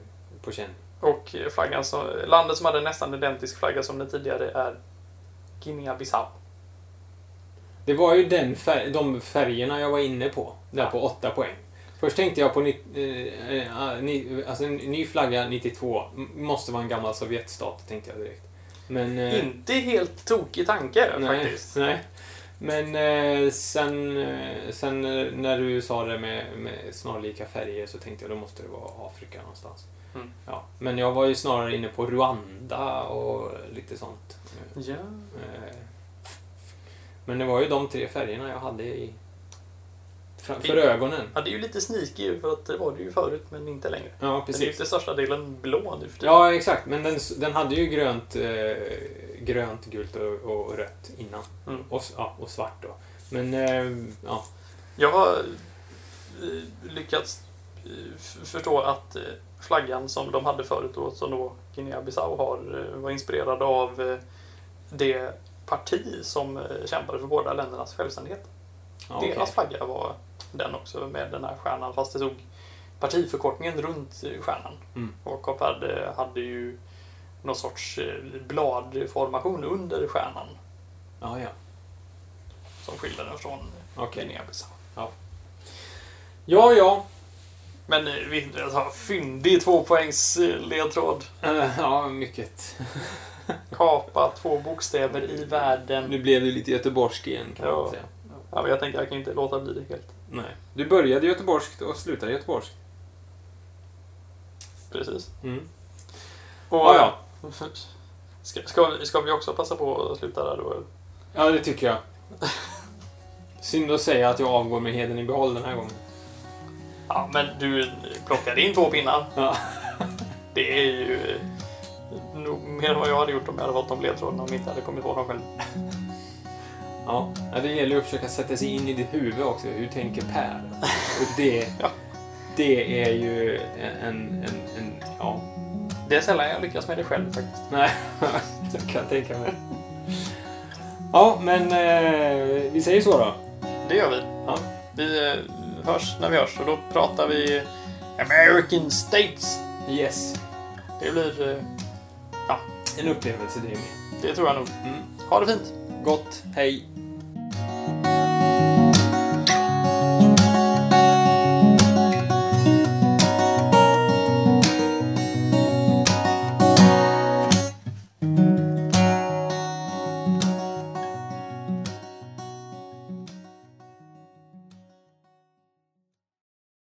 S1: på känn.
S2: Och flaggan som, landet som hade en nästan identisk flagga som den tidigare är Guinea-Bissau.
S1: Det var ju den fär- de färgerna jag var inne på. Där på 8 poäng. Först tänkte jag på ni- eh, eh, ni- alltså en ny flagga 92. M- måste vara en gammal Sovjetstat, tänkte jag direkt. Men... eh,
S2: Inte helt tokig tanke
S1: Nej,
S2: faktiskt.
S1: nej. Men eh, sen, eh, sen eh, när du sa det med, med snarlika färger så tänkte jag då måste det vara Afrika någonstans.
S2: Mm.
S1: Ja. Men jag var ju snarare inne på Rwanda och lite sånt.
S2: Ja.
S1: Eh, Men det var ju de tre färgerna jag hade i, framför
S2: I-
S1: ögonen.
S2: ja, det är ju lite sneaky för att det var det ju förut, men inte längre.
S1: Ja,
S2: Men det är ju
S1: precis.
S2: till största delen blå nu för tiden.
S1: Ja, exakt. Men den, s- den hade ju grönt, eh, grönt gult och, och rött innan.
S2: Mm.
S1: Och, s- ja, och svart då. Men, eh, ja.
S2: Jag har eh, lyckats eh, f- förstå att eh, flaggan som de hade förut då, som då Guinea-Bissau har, eh, var inspirerad av eh, det parti som eh, kämpade för båda ländernas självständighet.
S1: ja okej.
S2: Deras flagga var den också med den här stjärnan, fast det stod partiförkortningen runt eh, stjärnan.
S1: Mm.
S2: Och Kap Verde hade ju någon sorts eh, bladformation under stjärnan
S1: Ja, ja.
S2: som skiljer den från
S1: Okej.
S2: Guinea-Bissau.
S1: Ja, ja.
S2: Men eh, vi, alltså, fyndig tvåpoängs eh, ledtråd.
S1: Eh, ja, mycket.
S2: Kapa två bokstäver i världen.
S1: Nu blev du lite göteborgsk igen kan
S2: Ja.
S1: man säga.
S2: Ja, men jag tänkte jag kan inte låta bli det helt.
S1: Nej. Du började göteborgskt och slutade göteborgskt.
S2: Precis.
S1: Mm.
S2: Och,
S1: Ja, ja.
S2: *laughs* Ska, ska, ska vi också passa på att sluta där då?
S1: Ja, det tycker jag. *laughs* Synd att säga att jag avgår med heden i behåll den här gången.
S2: Ja, men du plockade in två pinnar.
S1: Ja.
S2: *laughs* Det är ju eh, nog mer än vad jag hade gjort om jag hade valt de ledtrådarna om jag inte hade kommit på dem själv.
S1: Ja, Ja, det gäller ju att försöka sätta sig in i ditt huvud också. Hur tänker Per? Och det, *laughs*
S2: Ja.
S1: det är ju en, en, en ja.
S2: Det är sällan jag lyckas med det själv faktiskt.
S1: Nej, *laughs* jag kan tänka mig. Ja, men eh, vi säger så då.
S2: Det gör vi.
S1: Ja.
S2: Vi eh, hörs när vi hörs och då pratar vi American States.
S1: Yes,
S2: Det blir... eh, Ja,
S1: en upplevelse det är med.
S2: det tror jag nog.
S1: Mm.
S2: Ha det fint!
S1: Gott, hej!